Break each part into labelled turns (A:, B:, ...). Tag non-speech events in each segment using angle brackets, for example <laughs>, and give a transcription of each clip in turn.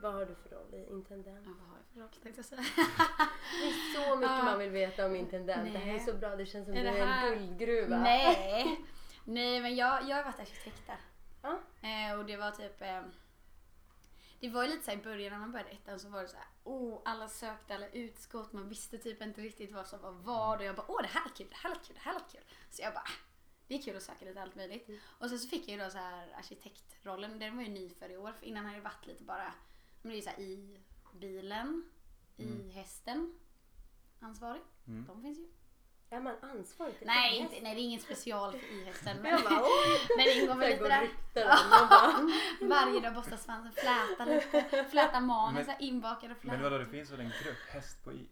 A: vad har du för roll i intendent?
B: Ja, vad har jag för roll tänkte jag säga.
A: Det är så mycket
B: Ja.
A: man vill veta om intendent. Det här är
B: Nej.
A: så bra, det känns som
B: Är
A: du
B: det
A: är en
B: här-
A: guldgruva.
B: Nej. Nej, men jag, jag har varit arkitekt där.
A: Ja.
B: Eh, och det var typ... Eh, det var ju lite så här i början när man började ettan så var det så här, oh, alla sökte alla utskott, man visste typ inte riktigt vad som var vad och jag bara, åh det här är kul, det här låter kul, det här låter kul. Så jag bara, "Ah, det är kul att söka lite allt möjligt. Och sen så fick jag ju då så här arkitektrollen, den var ju ny för i år, för innan hade det varit lite bara, men det är ju så här i bilen, i hästen, ansvarig.
C: Mm.
B: De finns ju.
A: Är man ansvarig för
B: Nej,
A: det?
B: inte, nej, det är ingen special för i-hästen.
A: <laughs>
B: Men,
A: Jag bara, oj!
B: <laughs> men det ingår
A: Sen
B: väl lite
A: går
B: där.
A: rykten om man bara,
B: Varje dag borstar svansen, flätar lite, flätar
C: Men-
B: manus, så här inbakade
C: Men vadå,
B: flätor.
C: det finns väl en grupp, häst på i?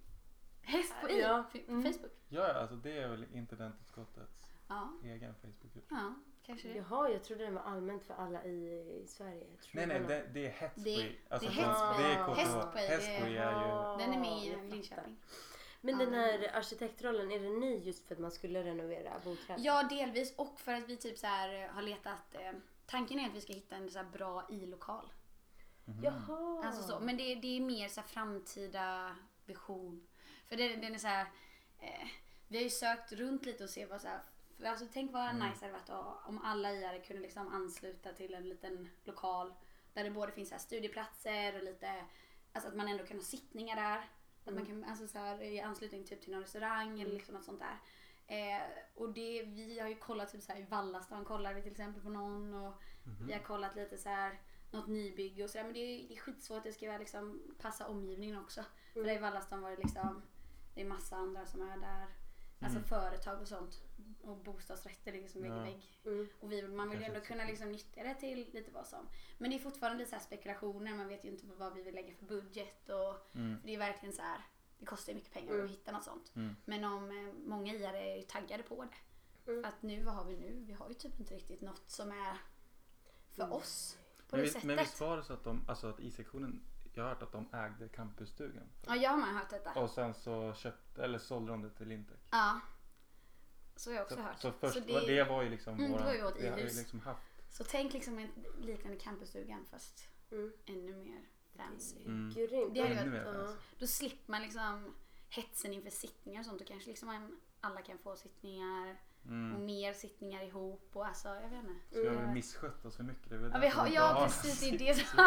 B: Häst på i?
A: Ja,
B: F- På
A: mm.
B: Facebook?
C: Ja, ja, alltså det är väl intendentutskottets
B: Ja.
C: egen Facebookgrupp.
B: ja, kanske <laughs> det.
A: Jaha, jag trodde den var allmänt för alla i, i Sverige. Jag trodde
C: Nej, nej,
A: var-
C: det, det är hets
B: Det-
C: på i. Alltså,
B: det är
C: från-
A: hets på i.
C: det är KTH.
B: Häst på i,
C: Häst på i är ju...
A: Jaha,
B: Den är med
A: jag
B: i
A: fattar.
B: Linköping.
A: Men den
B: Ja.
A: här arkitektrollen, är den ny just för att man skulle renovera bostäder?
B: Ja, delvis. Och för att vi typ så här eh, har letat. Eh, tanken är att vi ska hitta en så här bra i-lokal.
A: Mm. Jaha!
B: Alltså så, men det, det är mer så här framtida vision. För det, den är så här, eh, vi har ju sökt runt lite och se vad så här, för alltså tänk vad nice det hade varit att- om alla IR kunde liksom ansluta till en liten lokal där det både finns så här studieplatser och lite, alltså att man ändå kan ha sittningar där. Att man kan, alltså så här, i anslutning typ till någon restaurang eller liksom något sånt där. Eh, och det, vi har ju kollat typ så här, i Vallastad kollar vi till exempel på någon och vi har kollat lite så här något nybygge och sådär. Men det är, det är skitsvårt att det ska vara liksom passa omgivningen också. För där i Vallastad var det liksom, det är massa andra som är där. Alltså företag och sånt. Och bostadsrätter ligger som vägg i
C: Ja.
B: vägg.
A: Mm.
B: Och vi, man vill ju
C: Kanske
B: ändå
C: inte så
B: kunna liksom nyttja det till lite vad som. Men det är fortfarande lite så här spekulationer. Man vet ju inte vad vi vill lägga för budget. Och,
C: Mm.
B: för det är verkligen så här, det kostar ju mycket pengar
A: Mm.
B: att hitta något sånt.
C: Mm.
B: Men om eh, många IR är ju taggade på det.
A: Mm.
B: Att nu, vad har vi nu? Vi har ju typ inte riktigt något som är för
A: Mm.
B: oss. På
C: Men
B: det
C: visst,
B: sättet.
C: men visst var det så att de, alltså att I-sektionen, jag har hört att de ägde campusstugan.
B: Ja, jag har med hört detta.
C: Och sen så köpte, eller sålde de det till Lintec.
B: Ja. Så har jag också
C: Så,
B: hört.
C: så först,
B: så,
C: det, var, det var ju liksom
B: Mm, det
C: våran-
B: var ju vårt
C: vi har ju
B: i-hus.
C: liksom haft.
B: så tänk liksom en liknande campusstugan fast
A: Mm.
B: ännu mer fancy.
C: Mm.
A: Grymt.
B: Alltså, Det hade
C: Ännu
B: varit-
C: mer alltså.
A: ja.
C: fancy.
B: Då slipper man liksom hetsen inför sittningar och sånt. Då kanske liksom man, alla kan få sittningar
C: Mm.
B: och mer sittningar ihop och alltså jag vet inte.
C: Så vi har
B: Mm.
C: väl misskött oss för mycket. Det är väl
B: Ja, vi
C: därför
B: har,
C: inte
B: ja
C: några
B: precis, det är det som...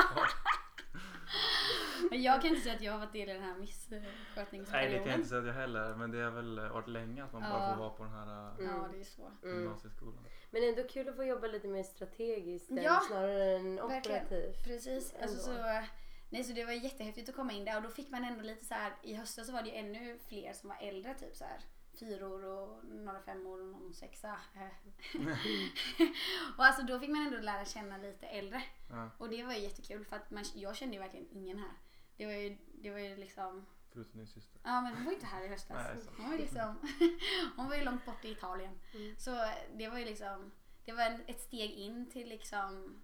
B: Men jag kan inte säga att jag har varit del i den här
C: <laughs> Nej det kan jag
B: misskötningsperioden.
C: inte säga att jag heller. Men det har väl varit länge att man bara
B: Ja.
C: får vara på den här äh,
B: Ja, det är så.
A: Mm.
C: gymnasieskolan.
A: Men ändå kul att få jobba lite mer strategiskt än
B: Ja,
A: snarare än
B: verkligen.
A: operativt.
B: Precis. Alltså, så, nej, så det var jättehäftigt att komma in där och då fick man ändå lite så här. I höstas så var det ju ännu fler som var äldre, typ så här fyror och några femmor och någon sexa. <laughs> och alltså då fick man ändå lära känna lite äldre
C: Ja,
B: och det var ju jättekul för att man, jag kände ju verkligen ingen här. Det var ju, det var ju liksom,
C: förutom din syster.
B: ja men hon var ju inte här i höstas.
C: Nej, det är sant.
B: hon, var ju liksom, <laughs> hon var ju långt bort i Italien. Så det var ju liksom, det var en- ett steg in till liksom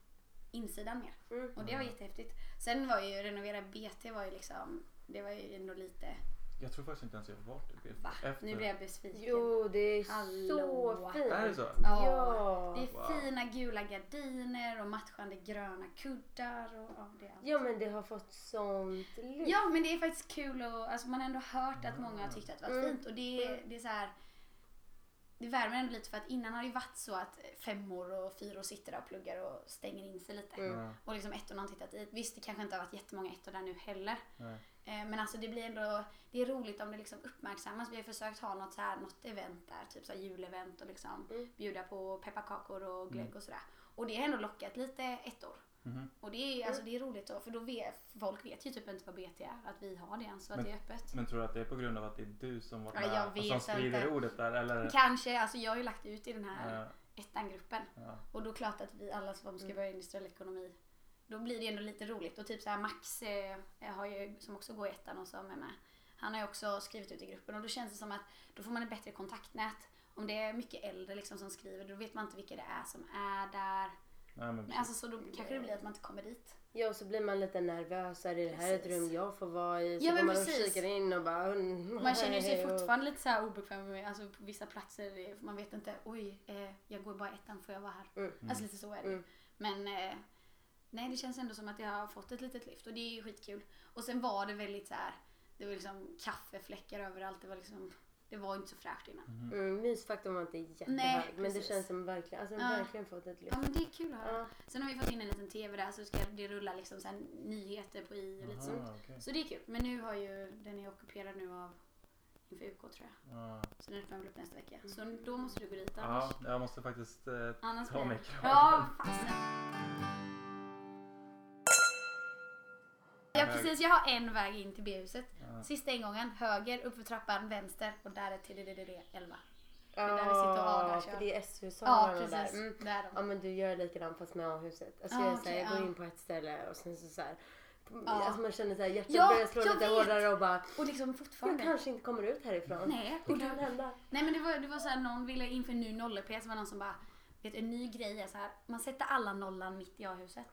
B: insidan mer.
A: Mm.
B: Och det var jättehäftigt. Sen var ju renovera BT var ju liksom, det var ju ändå lite,
C: Jag tror faktiskt inte ens jag har varit i BT.
B: va?
C: Efter.
B: Nu blir jag besviken.
A: Jo, det är så
B: Hallå.
A: fint.
C: Är det så?
B: Ja.
A: Ja.
B: Det är
C: Wow.
B: fina gula gardiner och matchande gröna kuddar och ja, det är allt.
A: Ja, men det har fått sånt lyft.
B: Ja men det är faktiskt kul och alltså, man har ändå hört att många har tyckt att det var
A: Mm.
B: fint och det, är- det är så här. Det värmer ändå lite för att innan har det ju varit så att femmor och fyror sitter där och pluggar och stänger in sig
A: Mm.
B: lite.
C: Ja,
B: Och liksom ettorna har tittat dit. Visst det kanske inte har varit jättemånga ettor där nu heller.
C: nej.
B: Eh, Men alltså det blir ändå, det är roligt om det liksom uppmärksammas. Vi har försökt ha något, så här, något event där, typ så här julevent och liksom
A: Mm.
B: bjuda på pepparkakor och
C: Mm.
B: glögg och sådär. Och det har ändå lockat lite ettor.
C: Mhm.
B: Och det är, alltså, det är roligt då, för då vet, folk vet ju typ inte vad BT är, att vi har det ens och att
C: Men-
B: det är öppet.
C: Men tror du att det är på grund av att det är du som varit
B: Ja,
C: med
B: jag
C: och
B: vet
C: som sprider
B: inte.
C: ordet där? Eller?
B: Kanske, alltså jag har ju lagt ut i den här
C: Ja,
B: ettan-gruppen.
C: ja.
B: Och då är det klart att vi alla som ska börja industriell ekonomi, då blir det ändå lite roligt. Och typ så här Max, eh, har ju, som också går i ettan och som är med, han har ju också skrivit ut i gruppen och då känns det som att då får man ett bättre kontaktnät. Om det är mycket äldre liksom som skriver, då vet man inte vilka det är som är där.
C: Nej, men
B: Men alltså, så då kanske det blir att man inte kommer dit.
A: Ja, och så blir man lite nervös. Är det här ett
B: Precis.
A: rum jag får vara i? Så
B: Ja,
A: går
B: men
A: man och
B: precis.
A: kikar in och bara... mm,
B: Man känner sig
A: hej och-
B: fortfarande lite så här obekväm med, alltså på vissa platser, eh, för man vet inte, oj, eh, jag går bara i ettan, får jag vara här?
A: Mm.
B: Alltså lite så är det
A: Mm.
B: Men eh, Nej, det känns ändå som att jag har fått ett litet lyft och det är ju skitkul. Och sen var det väldigt så här, det var liksom kaffefläckar överallt. Det var liksom, det var inte så fräscht innan.
A: Mm, mysfaktorn var inte jättehög
B: Nej,
A: men det
B: precis.
A: känns som verkligen, alltså, den
B: Ja.
A: verkligen fått ett lyft.
B: Ja men det är kul att höra.
A: Ja.
B: Sen har vi fått in en liten TV där så ska det rulla liksom så här nyheter på i och lite sånt.
C: Aha, okej.
B: Så det är kul. Men nu har ju, den är ockuperad nu av inför UK tror jag.
C: Ja.
B: Så den öppnar väl upp nästa vecka. Så då måste du gå dit annars.
C: ja, jag måste faktiskt eh,
B: Annars
C: ta
B: blir
C: mig
B: det-
C: kragen.
B: Ja, fasen. Ja precis, jag har en väg in till B-huset.
C: Ja.
B: Sista ingången, höger, uppför trappan, vänster och där är till 11. är där vi sitter och
A: Ja,
B: har-
A: för det är S-husalarna
B: Ja
A: där.
B: precis,
A: Mm.
B: där de.
A: Ja men du gör likadant fast med A-huset. Alltså
B: Ja,
A: jag, är såhär,
B: okej,
A: jag går
B: ja.
A: in på ett ställe och sen så såhär.
B: Ja.
A: Alltså man känner såhär hjärtat
B: Ja,
A: börjar slå
B: jag
A: lite
B: vet.
A: hårdare och bara.
B: Och liksom
A: Jag
B: fortfarande.
A: kanske inte kommer ut härifrån.
B: Nej,
A: Det
B: och du,
A: kan hända.
B: nej men det var, det var såhär någon ville inför en ny noll-EP så var det någon som bara Vet du, en ny grej är såhär, man sätter alla nollan mitt i A-huset.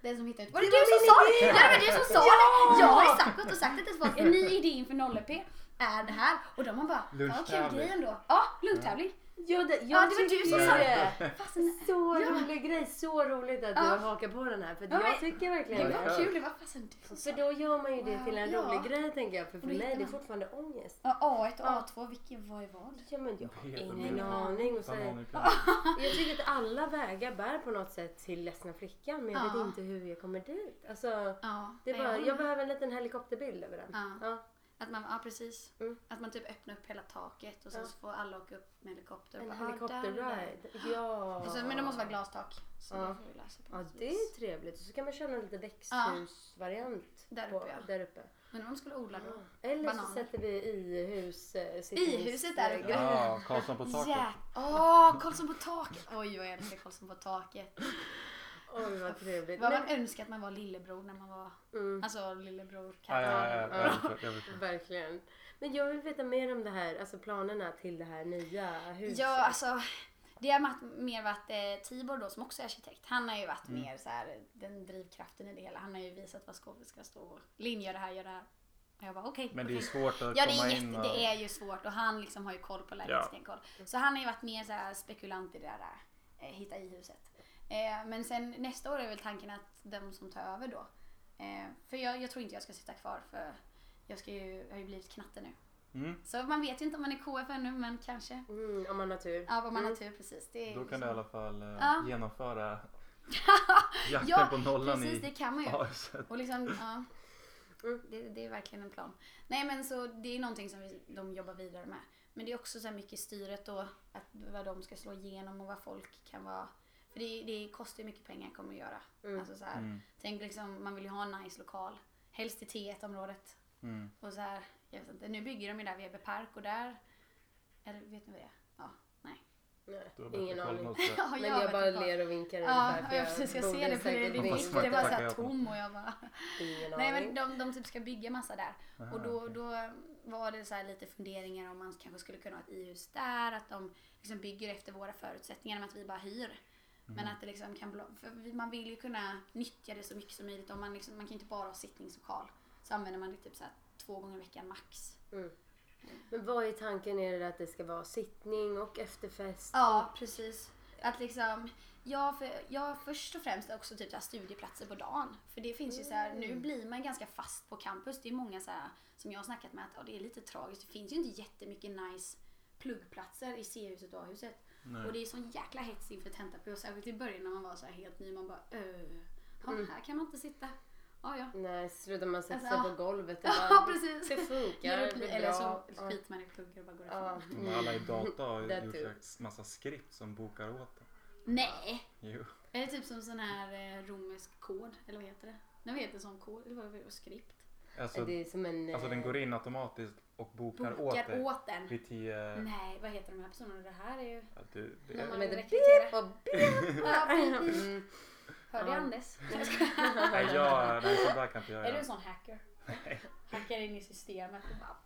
B: Den som hittar ut. Var det,
A: Det
B: du
A: var
B: som
A: min
B: sa
A: idé!
B: det? Ja det var du som sa det! Jag har ju sagt gått och sagt det till folk, en ny idé inför noll-EP är det här. Och de har bara, ja vad kul
C: Lunchtävling.
B: grej ändå. Ja, lunchtävling.
A: Ja, det, jag
B: Ja det var du
A: tycker
B: som sa det.
A: det.
B: Fasen,
A: Så
B: Ja.
A: rolig grej, så roligt att du
B: Ja.
A: har hakat på den här. För
B: Ja,
A: jag
B: men-
A: tycker
B: det
A: verkligen det.
B: var kul, det var fasen du som sa
A: För
B: det.
A: då gör man ju det
B: Wow.
A: till en
B: Ja.
A: rolig grej tänker jag. För för
B: Och
A: mig
B: då
A: är
B: hittar
A: det
B: man.
A: fortfarande ångest.
B: Ja, A1 och A2, vilken, vad är vad?
A: Ja men jag
C: Det
A: har
C: är
A: ingen
C: underligt.
A: aning. Och så här,
C: Bananer på-
A: jag tycker att alla vägar bär på något sätt till ledsna flickan. Men jag
B: Ja.
A: vet inte hur jag kommer dit. Alltså,
B: Ja,
A: det är
B: nej,
A: bara,
B: håller
A: jag
B: med.
A: behöver en liten helikopterbild över den.
B: Ja.
A: Ja.
B: Att man, ja precis.
A: Mm.
B: Att man typ öppnar upp hela taket och sen
A: Ja.
B: så får alla åka upp med helikopter.
A: En
B: Bara, ah, där, där.
A: helikopterride. Ja.
B: Och så, men det måste vara glastak. Så
A: Ja.
B: det får vi lösa på
A: Ja
B: något
A: det
B: vis.
A: är trevligt. Och så kan man köra en liten växthusvariant.
B: Där
A: på-
B: uppe, ja.
A: där uppe.
B: Men om de skulle odla då?
A: Eller så
B: Bananer.
A: sätter vi i hus. eh,
B: I huset där uppe.
A: Ja.
C: Ja, Karlsson på
B: Ja.
C: taket.
B: Åh, Karlsson på taket! Oj, vad jag älskar Karlsson på taket.
A: Oj vad trevligt.
B: Vad
A: Nej,
B: man önskar att man var lillebror när man var...
A: Mm.
B: Alltså lillebror
C: Ja,
B: kan
C: ja, ja,
B: ja,
C: ja, jag förstår, jag förstår.
A: Verkligen. Men jag vill veta mer om det här, alltså planerna till det här nya huset.
B: ja, alltså. Det har varit- mer varit eh, Tibor då som också är arkitekt. Han har ju varit
A: Mm.
B: mer så här, den drivkraften i det hela. Han har ju visat vad skåpet ska stå. och, Linn gör det här, gör det här. Och jag bara okej.
C: Men det är
B: okej.
C: ju svårt att
B: Ja det är,
C: komma in
B: jätte,
C: och...
B: det är ju svårt och han liksom har ju koll på lägenhetskoll. Så han har ju varit mer så här spekulant i det där eh, hitta i huset. Eh, men sen nästa år är väl tanken att de som tar över då. Eh, för jag, jag tror inte jag ska sitta kvar för jag, ska ju, jag har ju blivit knatte nu.
C: Mm,
B: Så man vet ju inte om man är KF ännu men kanske.
A: Mm, om man har tur.
B: Ja vad man har
A: Mm.
B: tur precis. Det är liksom-
C: då kan du i alla fall eh,
B: Ja.
C: genomföra
B: <laughs>
C: jakten <laughs> på nollan
B: precis, det
C: i
B: kan man ju.
C: aset.
B: Och liksom,
A: <clears throat>
B: ja.
A: Mm.
B: Det, det är verkligen en plan. Nej men så det är någonting som vi, de jobbar vidare med. Men det är också så här mycket styret då, att vad de ska slå igenom och vad folk kan vara. För det, det kostar ju mycket pengar kommer att göra.
A: Mm.
B: Alltså så här,
C: Mm,
B: Tänk liksom, man vill ju ha en nice lokal. Helst i T1-området.
C: mm.
B: Och så här, jag vet inte, nu bygger de ju där vid Ebbe Park och där, eller vet ni vad det är? Ja, nej.
A: Nej,
C: Du har bättre
A: ingen
C: koll
A: aning.
C: än oss där.
B: <laughs> Ja,
A: Men jag
B: vet
A: bara
B: inte.
A: ler och vinkar
B: Ja,
A: ungefär,
B: ja, precis. Jag
A: borde
B: ser det för det,
A: säkert
B: det,
A: veta.
B: det, det var så här
C: Tackar.
B: tom och jag bara
A: Ingen
B: Nej men
A: aning.
B: de, de typ ska bygga massa där.
C: Aha,
B: och då,
C: okej.
B: då var det så här lite funderingar om man kanske skulle kunna ha ett i-hus där. Att de liksom bygger efter våra förutsättningar men att vi bara hyr. Men att det liksom kan blo- för vi- man vill ju kunna nyttja det så mycket som möjligt. Om man, liksom, man kan ju inte bara ha sittningslokal. Så använder man det typ så här två gånger i veckan max.
A: Mm. Men vad är tanken? Är det att det ska vara sittning och efterfest?
B: Ja, precis. Att liksom, ja, för, ja, först och främst också typ så här studieplatser på dagen. För det finns ju så här,
A: Mm.
B: nu blir man ganska fast på campus. Det är många så här, som jag har snackat med att ja, det är lite tragiskt. Det finns ju inte jättemycket nice pluggplatser i C-huset och A-huset.
C: Nej.
B: Och det är sån jäkla hets inför tentaperiod. Särskilt i början när man var så här helt ny. Man bara öh, ja,
A: Mm.
B: här kan man inte sitta. Ja, ja.
A: Nej, slutar man sätta sig
B: Alltså, ja.
A: på golvet och
B: Ja,
A: bara,
B: <laughs> precis.
A: det funkar, det blir
B: Eller så
A: bra. Ja.
B: skiter man i pluggar och bara går
A: Ja.
B: ifrån.
C: Men Alla i data har
A: That
C: ju gjort
A: too.
C: en massa skript som bokar åt dem.
B: Nej!
C: Jo.
B: Eller typ som sån här eh, romersk kod, eller vad heter det? Nej vad heter det sån kod? Eller vad var det? Skript?
C: Alltså,
A: det är som en... eh,
C: alltså den går in automatiskt och bokar, åt
B: Bokar
C: dig.
B: åt den.
C: Vid tio...
B: Nej, vad heter de här personerna? Det här är ju...
C: <laughs> Ja, du, det
B: När
C: är...
B: man
A: Men det
B: rekryterar.
A: och
B: Ja, precis.
A: Mm.
B: Hörde
A: <laughs> Ja.
B: jag Andes?
C: Nej, jag, nej, sånt där kan inte jag
B: Är du
C: göra.
B: en sån hacker? Hackar in i systemet och bara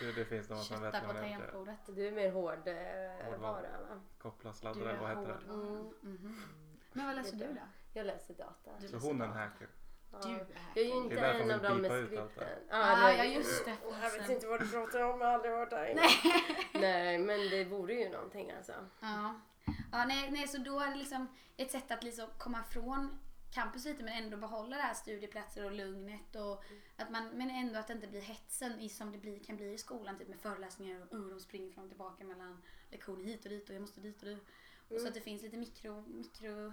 C: Det, det finns någon som vet
B: köttar
C: hur
B: på
C: man gör.
B: tangentbordet.
A: <laughs> Du är mer hård eh, vara va?
C: Koppla,
B: Du
C: sladdra,
B: är
C: vad heter
B: hårdvara.
C: det?
A: Mm.
B: Mhm. Men vad läser du då?
A: Jag läser data.
B: Du
C: Så
B: läser
C: hon är en
B: data.
C: hacker.
A: Ja.
B: Du är
A: Jag är ju
B: hacker.
A: inte
C: Det är därför
A: en
C: hon
A: av dem
C: beepar
A: med
C: ut allt
A: skripten.
B: Ah,
A: nej.
B: ja just det.
A: Åh, Jag vet
B: fasen.
A: inte vad du pratar om, jag har aldrig varit där
B: <laughs>
A: inne. Nej, men det vore ju någonting alltså.
B: Ja. ja nej, nej, så då är det liksom ett sätt att liksom komma ifrån campus lite men ändå behålla det här studieplatser och lugnet. Och att man, men ändå att det inte blir hetsen i- som det blir, kan bli i skolan typ med föreläsningar och ungdom springer fram och tillbaka mellan lektioner hit och dit och jag måste dit och dit. Och så att det
A: Mm.
B: finns lite mikro, mikro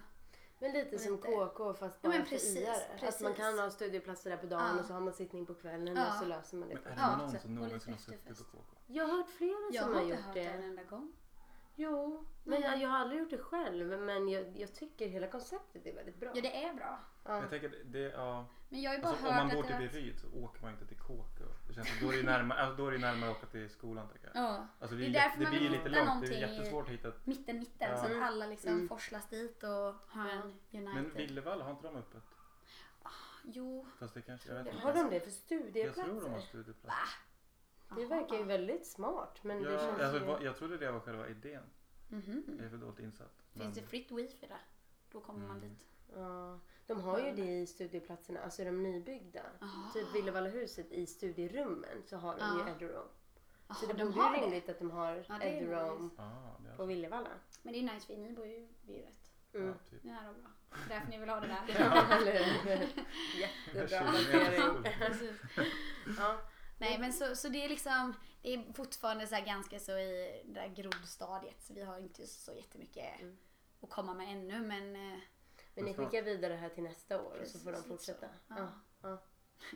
A: Men lite
B: Och
A: som
B: lite-
A: KK fast
B: Ja,
A: bara
B: men
A: för
B: precis,
A: IR. Att man
B: precis.
A: kan ha studieplatser där på dagen
B: Ja.
A: och så har man sittning på kvällen och
B: Ja.
A: så löser man det.
C: Men är det
B: Ja,
C: någon
B: exakt.
C: som
B: Och
C: någonsin har
B: lite
C: suttit på
B: efterfest.
C: KK?
A: Jag har hört flera
B: Jag
A: som
B: har
A: har
B: inte
A: gjort
B: hört det
A: det.
B: en enda gång.
A: Jo, men
B: Nej.
A: jag, jag har aldrig gjort det själv. Men jag, jag tycker hela konceptet är väldigt bra.
B: Ja, det är bra.
A: Ja.
C: Jag tänker, det, ja,
B: Men jag har ju bara
C: alltså, om
B: hört
C: man bor
B: att det
C: till
B: var-
C: Beryd så åker man inte till KK. Det känns, som- då är det ju närmare, alltså, då är det ju närmare att åka till skolan tänker jag.
B: Ja.
C: Alltså,
B: Det
C: det,
B: är
C: är
B: därför
C: jätte- det
B: man
C: blir
B: vill
C: ju lite
B: hitta
C: långt. Det är ju
B: någonting i-
C: jättesvårt att hitta.
B: Mitten, mitten.
C: Ja.
B: Så att alla liksom
A: Mm.
B: forslas dit och har
A: Ja.
B: en
C: Men
B: United.
C: Villevalla, har inte de öppet?
B: Jo.
C: Fast det kanske, jag vet inte.
A: Har de det för
C: Jag
A: studieplatser?
C: tror de har studieplatser.
A: Det verkar ju väldigt smart. Men det
C: Jag,
A: känns
C: alltså,
A: ju...
C: va- jag trodde det var själva idén.
B: Mhm.
C: Jag är för dåligt insatt.
B: Finns det
C: Men-
B: fritt wifi där? Då kommer man
C: Mm.
B: dit.
A: Ja, de har ju det i studieplatserna, alltså de nybyggda.
B: Ah.
A: Typ Villevallahuset i studierummen så har de
B: Ja.
A: ju Eduroam. Så
B: Jaha,
A: det ah, de
B: har
A: borde ju rimligt att de har
B: Ja, det är
A: Eduroam
B: nice.
C: Ah, det är
A: på Villevalla.
B: Men det är nice för ni bor ju vid rätt
A: Mm.
C: ja, typ.
B: nära och bra. Det är därför ni vill ha
A: <laughs>
B: det där.
A: Eller
B: <laughs>
A: hur?
C: <laughs>
A: Jättebra
C: 20 meter
A: placering.
C: skola.
B: Precis.
A: Ja.
B: Nej men så, så det är liksom, det är fortfarande så här ganska så i det där groddstadiet. Så vi har inte så jättemycket
A: Mm.
B: att komma med ännu men eh,
A: Men ni
C: Men snart-
A: skickar vidare här till nästa år och så får de
B: Precis,
A: fortsätta.
B: lite så.
A: Ja. Ja.
B: <laughs>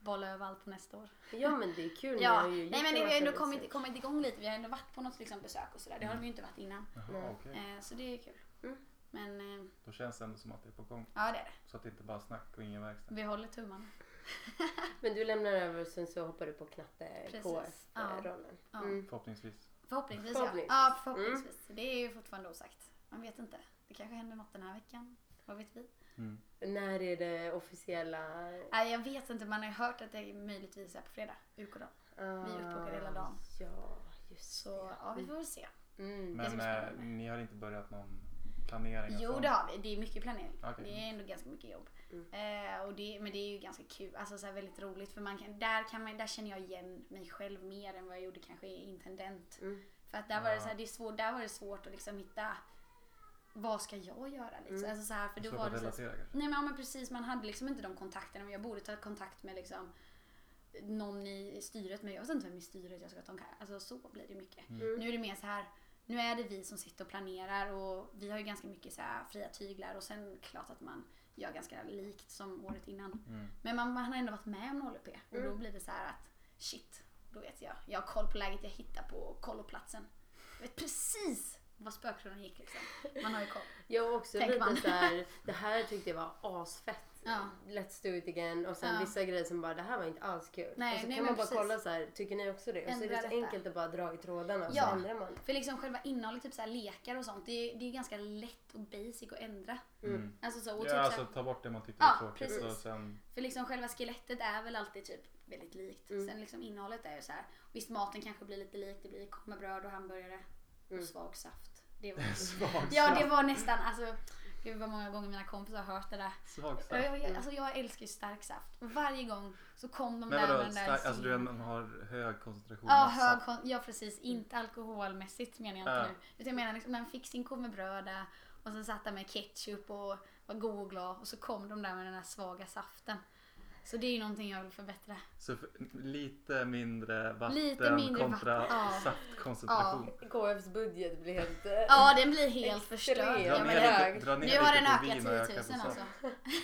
B: bolla över allt på nästa år.
A: ja men det är kul. ni
B: Ja,
A: har ju gjort
B: nej men
A: en
B: vi har
A: massa
B: ändå
A: research.
B: kommit, kommit igång lite. Vi har ändå varit på något liksom besök och sådär. Det har de ju inte varit innan.
C: Jaha,
A: Mm. Nej.
C: okej.
B: Eh, så det är kul.
A: Mm.
B: Men eh,
C: Då känns det ändå som att det är på gång.
B: ja det är det.
C: Så att det inte bara är snack och ingen verkstad.
B: Vi håller tummarna.
A: Men du lämnar över och sen så hoppar du på knatte
B: Precis. Ja.
A: KF-rollen.
B: Ja.
A: Mm.
C: Förhoppningsvis.
B: Förhoppningsvis,
A: Förhoppningsvis. Mm.
B: ja. ja förhoppningsvis. Det är ju fortfarande osagt. Man vet inte. Det kanske händer något den här veckan. Vad vet vi?
C: Mm.
A: När är det officiella?
B: Nej, jag vet inte. Man har ju hört att det möjligtvis är på fredag. Urkodon.
A: Vi
B: är uppbokade hela dagen.
A: Ah, Ja, just
B: Så ja, vi får väl se.
A: det. Mm.
B: ska
C: Men
B: bli
C: eh,
B: spännande.
C: ni har inte börjat någon planering? alltså,
B: Jo,
C: och sånt?
B: det har vi. Det är mycket planering.
C: Okej.
B: Det är ändå ganska mycket jobb.
A: Mm.
B: Eh, och det, men det är ju ganska kul. Alltså så här, väldigt roligt. För man kan, där, kan man, där känner jag igen mig själv mer än vad jag gjorde kanske i intendent.
A: Mm.
B: För att där var det,
C: Ja.
B: så här, det är svårt, där var det svårt att liksom hitta vad ska jag göra liksom.
A: Mm.
B: Alltså, så här, för då
C: Svårt
B: var
C: att
B: det så här,
C: relatera kanske?
B: Nej men, ja, men precis, man hade liksom inte de kontakterna. Men jag borde ta kontakt med liksom någon i styret. Men jag vet inte vem i styret jag ska ta kontakt Alltså så blir det mycket.
A: Mm.
B: Nu är det mer så här. Nu är det vi som sitter och planerar och vi har ju ganska mycket så här fria tyglar och sen klart att man gör ganska likt som året innan.
C: Mm.
B: Men man, man har ändå varit med om en HLP och då
A: Mm.
B: blir det så här att shit, då vet jag. Jag har koll på läget, jag hittar på kolloplatsen. Jag vet precis vad spökronan gick liksom. Man har ju koll.
A: Jag var också
B: Tänker man.
A: lite så här, det här tyckte jag var asfett.
B: Ja.
A: Let's do it again. Och sen
B: Ja.
A: vissa grejer som bara, det här var inte alls kul.
B: Nej,
A: och så
B: nej,
A: kan
B: men
A: man bara
B: precis.
A: kolla så här, tycker ni också det? Och så är
B: Ändra
A: det så
B: detta.
A: enkelt att bara dra i trådarna och
B: Ja.
A: så ändrar man.
B: För liksom själva innehållet, typ så här lekar och sånt, det är, det är ganska lätt och basic att ändra.
C: Mm.
B: Alltså så, och
C: Ja,
B: typ så
C: alltså
B: här,
C: ta bort det man tyckte var
B: Ja,
C: tråkigt
B: precis.
C: och sen...
B: för liksom själva skelettet är väl alltid typ väldigt likt. Sen liksom innehållet är ju så här. visst maten kanske blir lite likt, det blir korvbröd och hamburgare och svag saft. Det
C: <laughs>
B: var,
C: Svag
B: ja, det var nästan, alltså gud vad många gånger mina kompisar har hört det där.
C: Svag
B: Jag,
C: saft.
B: jag, jag- alltså jag älskar ju stark saft. Varje gång så kom de
C: Men
B: där
C: vadå,
B: med den där
C: stark, alltså du
B: synen.
C: ändå har hög koncentration
B: Ja,
C: av
B: hög
C: saft.
B: kon- ja precis. Inte alkoholmässigt menar jag inte
C: Mm. Ja.
B: nu. Utan jag menar liksom, man fick sin korv med bröda och sen satt där med ketchup och var god och glad och så kom de där med den där svaga saften. Så det är ju någonting jag vill förbättra.
C: Så för, lite mindre vatten
B: Lite mindre
C: kontra
B: vatten, ja.
C: saftkoncentration.
A: KFs budget blev helt... eh,
B: Ja, den blir helt förstörd.
A: Extrem.
B: Ja,
C: Dra
B: men
A: ner
B: det-
A: det-
C: ner, lite, dra ner
B: nu har den
C: lite på
B: ökat
C: vin och öka
B: 10
C: på
B: 000
C: saft.
B: alltså. <laughs>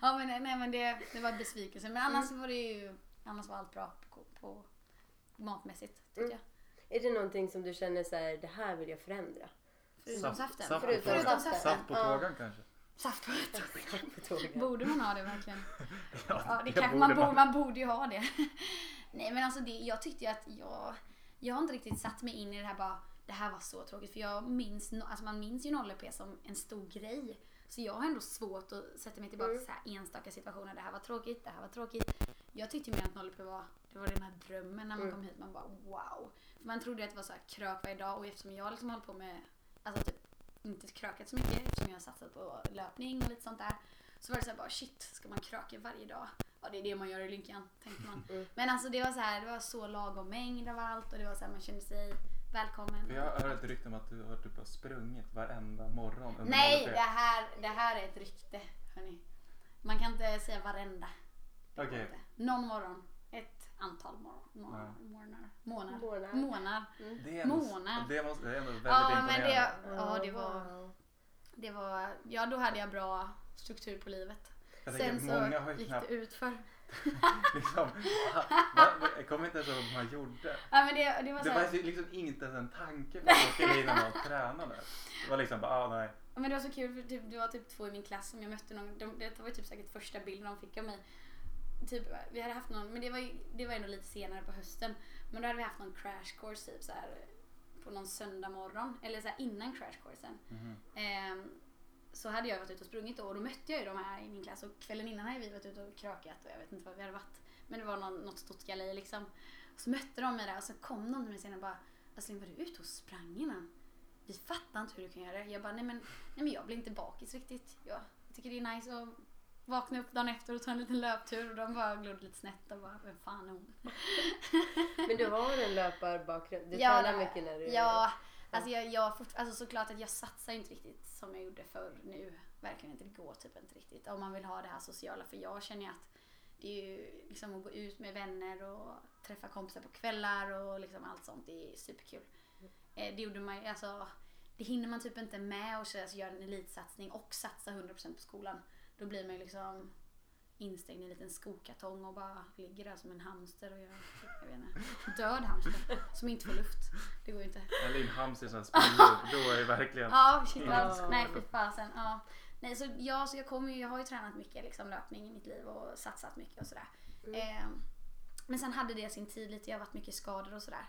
B: ja, men, nej, men det, det var besvikelse. Men annars
C: Mm.
B: var det ju, annars var allt bra på, på matmässigt tyckte
A: Mm.
B: jag.
A: Är det någonting som du känner så här, det här vill jag förändra? <laughs>
B: Förutom
C: Saft,
B: saften.
C: saft, på
A: Förutom
C: tågan.
A: saften.
C: saft på
A: Ja.
C: tågan kanske?
B: Saft.
A: På tågen.
B: Borde man ha det verkligen? Ja, det
C: jag
B: kanske
C: borde
B: man, borde,
C: bara-
B: man borde ju ha det. <laughs> Nej men alltså det, jag tyckte ju att jag, jag har inte riktigt satt mig in i det här bara, det här var så tråkigt för jag minns, no- alltså man minns ju 0EP som en stor grej. Så jag har ändå svårt att sätta mig tillbaka till
C: Mm.
B: så här enstaka situationer, det här var tråkigt, det här var tråkigt. Jag tyckte mer att 0EP var, det var den här drömmen när
C: Mm.
B: man kom hit, man bara wow. För man trodde ju att det var så här krök varje dag och eftersom jag liksom håller på med, alltså typ inte krökat så mycket eftersom jag har satsat på löpning och lite sånt där. Så var det så här bara shit, ska man kröka varje dag? Ja det är det man gör i Lynkan, tänkte man. Men alltså det var så här, det var så lagom mängd av allt och det var så här, man kände sig välkommen.
C: För Jag har hört rykten om att du har typ har sprungit varenda morgon under
B: Nej,
C: ADP.
B: det här, det här är ett rykte. hörni. Man kan inte säga varenda. Det går
C: Okej.
B: inte. Någon morgon. Ett antal morgon. Månader. Månader. Månader.
A: Månad.
B: Månad.
C: Det är ändå,
B: Månad.
C: det måste, det är ändå väldigt
B: Ja, men
C: imponerande.
B: det, ja, det var...
A: wow.
B: Det var, ja då hade jag bra struktur på livet.
C: Jag
B: Sen
C: tänker,
B: så
C: många har ju
B: gick
C: knappt
B: det utför.
C: <laughs> liksom, va, va, jag kommer inte ens ihåg vad man gjorde.
B: Ja, men det, det var
C: Det
B: så
C: var
B: här,
C: ju liksom inte ens en tanke på att jag skulle hinna med att träna där. Det var liksom bara, ah, nej.
B: ja, men det var så kul för typ, det var typ två i min klass som jag mötte någon, de, det var ju typ säkert första bilden de fick av mig. Typ, vi hade haft någon, men det var, ju- det var ändå lite senare på hösten. Men då hade vi haft någon crash course typ så här, på någon söndag morgon. Eller så här, innan crash coursen.
C: Mhm.
B: Ehm, så hade jag varit ute och sprungit då och då mötte jag ju de här i min klass och kvällen innan hade vi varit ute och krökat och jag vet inte vad vi hade varit. Men det var någon, något stort galej liksom. Och så mötte de mig där och så kom de till mig senare och bara Astrid var du ute och sprang innan? Vi fattar inte hur du kan göra det. Jag bara nej men, nej, men jag blir inte bakis riktigt. Jag, jag tycker det är nice att vakna upp dagen efter och ta en liten löptur och de bara glodde lite snett och bara vem fan är hon?
A: Men du har en löparbakgrund. Du
B: Ja,
A: tränar
B: det-
A: mycket när du
B: Ja, alltså, jag, jag fort, alltså såklart att jag satsar inte riktigt som jag gjorde förr nu. Verkligen inte. Det går typ inte riktigt. Om man vill ha det här sociala. För jag känner ju att det är ju liksom att gå ut med vänner och träffa kompisar på kvällar och liksom allt sånt. Det är superkul.
A: Mm.
B: Eh, Det gjorde man ju, alltså det hinner man typ inte med och så alltså, göra en elitsatsning och satsa 100% på skolan. Då blir man ju liksom instängd i en liten skokartong och bara ligger där som en hamster och gör, jag vet inte, död hamster som inte får luft. Det går ju inte.
C: Eller en hamster som springer.
B: <laughs>
C: Då är det verkligen.
B: Ja, shit
C: Ingen
B: vad,
C: skokartong.
B: nej fy fasen. Ja. Nej, så jag, så jag, kommer ju, jag har ju tränat mycket liksom, löpning i mitt liv och satsat mycket och sådär. Eh, men sen hade det sin tid lite, jag har varit mycket skadad och sådär.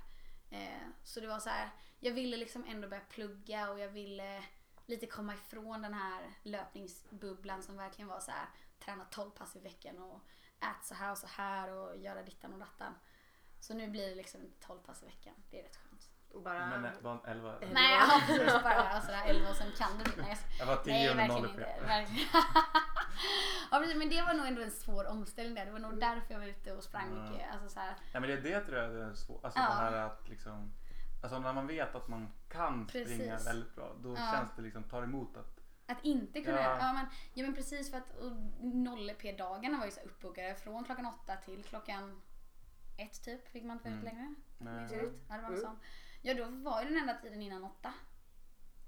B: Eh, så det var så här, jag ville liksom ändå börja plugga och jag ville lite komma ifrån den här löpningsbubblan som verkligen var så här träna 12 pass i veckan och ät så här och så här och göra dittan och dattan. Så nu blir det liksom inte 12 pass i veckan, det är rätt skönt.
A: Bara...
C: Men eh, nej, var en elva?
B: Nej, jag har precis bara sådär 11 och sen kan det bli. Nej, jag
C: Jag var tio
B: Nej,
C: under
B: verkligen
C: noll
B: inte. Verkligen. <laughs> ja, precis, men det var nog ändå en svår omställning där. Det var nog därför jag var ute och sprang
C: Ja.
B: mycket. Alltså, så här,
C: Ja men det är det tror jag det är svårt. Alltså
B: Ja.
C: det här att liksom. Alltså när man vet att man kan springa
B: Precis.
C: väldigt bra. Då
B: Ja.
C: känns det liksom, tar emot att.
B: att inte kunna...
C: Ja.
B: Ja. men, ja men precis för att och 0P-dagarna var ju så här uppbokade från klockan åtta till klockan ett typ. Fick man inte vara ute
C: Mm.
B: längre.
C: Nej.
B: Ja, det var
A: Mm.
B: något sånt. Ja då var ju den enda tiden innan åtta.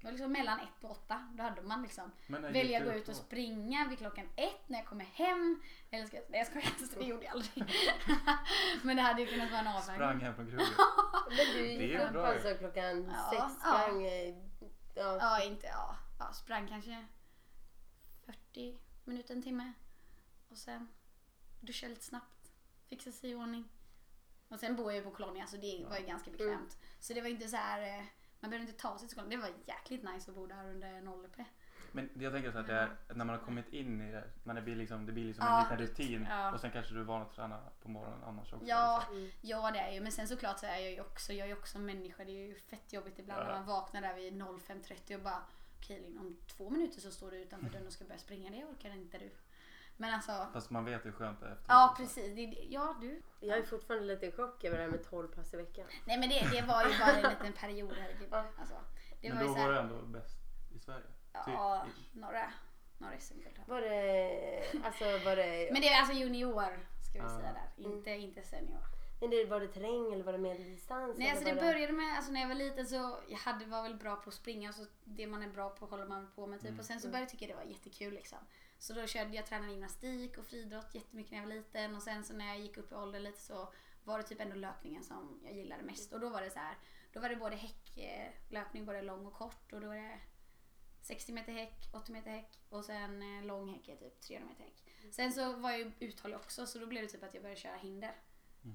B: Det var liksom mellan ett och åtta. Då hade man liksom
C: Men när
B: välja
C: gick
B: gå
C: du
B: ut och
C: då?
B: springa vid klockan ett när jag kommer hem. Eller ska jag, nej jag skojar, det gjorde jag aldrig. <laughs> Men det hade ju kunnat vara en avvägning.
C: Sprang hem från
B: <laughs>
C: krogen.
A: Men du
C: Det
A: gick
C: är
A: upp
C: bra ju.
A: alltså klockan
B: Ja,
A: sex,
B: ja.
A: sprang... eh, Ja.
B: Ja, inte, ja, ja, sprang kanske 40 minuter, en timme. Och sen duscha lite snabbt, fixa sig i ordning. Och sen bor jag ju på Kolonia så det var ju ganska bekvämt. Så det var inte så här, eh, man behövde inte ta sig till skolan. Det var jäkligt nice att bo där under 0 p
C: Men jag tänker så att det är, när man har kommit in i det, när det blir liksom, det blir liksom
B: Ja.
C: en liten rutin
B: Ja.
C: och sen kanske du är van att träna på morgonen annars också.
B: Ja,
A: Mm.
B: ja det är ju. Men sen såklart så är jag ju också, jag är ju också en människa. Det är ju fett jobbigt ibland
C: Ja.
B: när man vaknar där vid 05.30 och bara Okej Linn, om två minuter så står du utanför dörren och ska börja springa. Det orkar inte du. Men alltså,
C: Fast man vet hur skönt det är efteråt.
B: ja
C: också.
B: precis. Det, det- ja du.
A: Jag är fortfarande lite i chock över det här med 12 pass i veckan.
B: Nej men det, det var ju bara en liten period här i livet.
A: Ja.
B: Alltså, det
C: Men
B: var
C: då
B: ju
C: var du
B: såhär,
C: ändå bäst i Sverige. typ. Ty-
B: ja, några, några SM-guld. har
A: Var
B: jag.
A: det... Alltså var det...
B: Men det är alltså junior ska vi
C: Ja.
B: säga där. Inte, inte senior.
A: Men det, var det terräng eller var det medeldistans?
B: Nej,
A: eller
B: alltså det
A: var
B: började med, alltså när jag var liten så jag hade, var väl bra på att springa och så det man är bra på håller man på med typ. Och sen så började jag tycka det var jättekul liksom. Så då körde jag, tränade gymnastik och friidrott jättemycket när jag var liten och sen så när jag gick upp i ålder lite så var det typ ändå löpningen som jag gillade mest. Och då var det så här, då var det både häcklöpning, både lång och kort och då var det 60 meter häck, 80 meter häck och sen eh, lång häck är typ 300 meter häck. Sen så var jag ju uthållig också så då blev det typ att jag började köra hinder.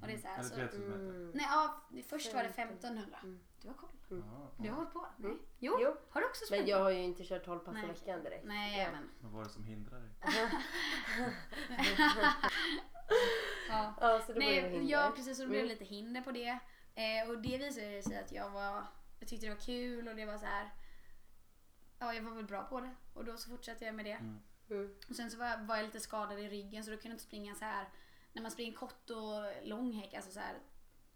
B: Och det är så här,
C: Eller
B: så- Mm.
C: 3000 meter.
A: Mm.
B: Nej, ja, först var det 1500. Du har koll.
C: Ja.
B: Mm. Du har hållit på? Nej. Jo.
A: Jo.
B: Har du också
A: Men
B: sprungit?
A: jag har ju inte kört 12 pass
B: Nej,
A: i veckan direkt.
B: Nej, ja. men.
C: Vad var det som hindrade dig?
B: Ja.
A: Ja, så det var ju
B: Nej,
A: hinder.
B: ja, precis. Så det Mm. blev lite hinder på det. Eh, och det visade sig att jag var... Jag tyckte det var kul och det var så här... Ja, jag var väl bra på det. Och då så fortsatte jag med det.
A: Mm.
B: Och sen så var jag, var jag lite skadad i ryggen så då kunde jag inte springa så här. När man springer kort och lång häck, alltså så här,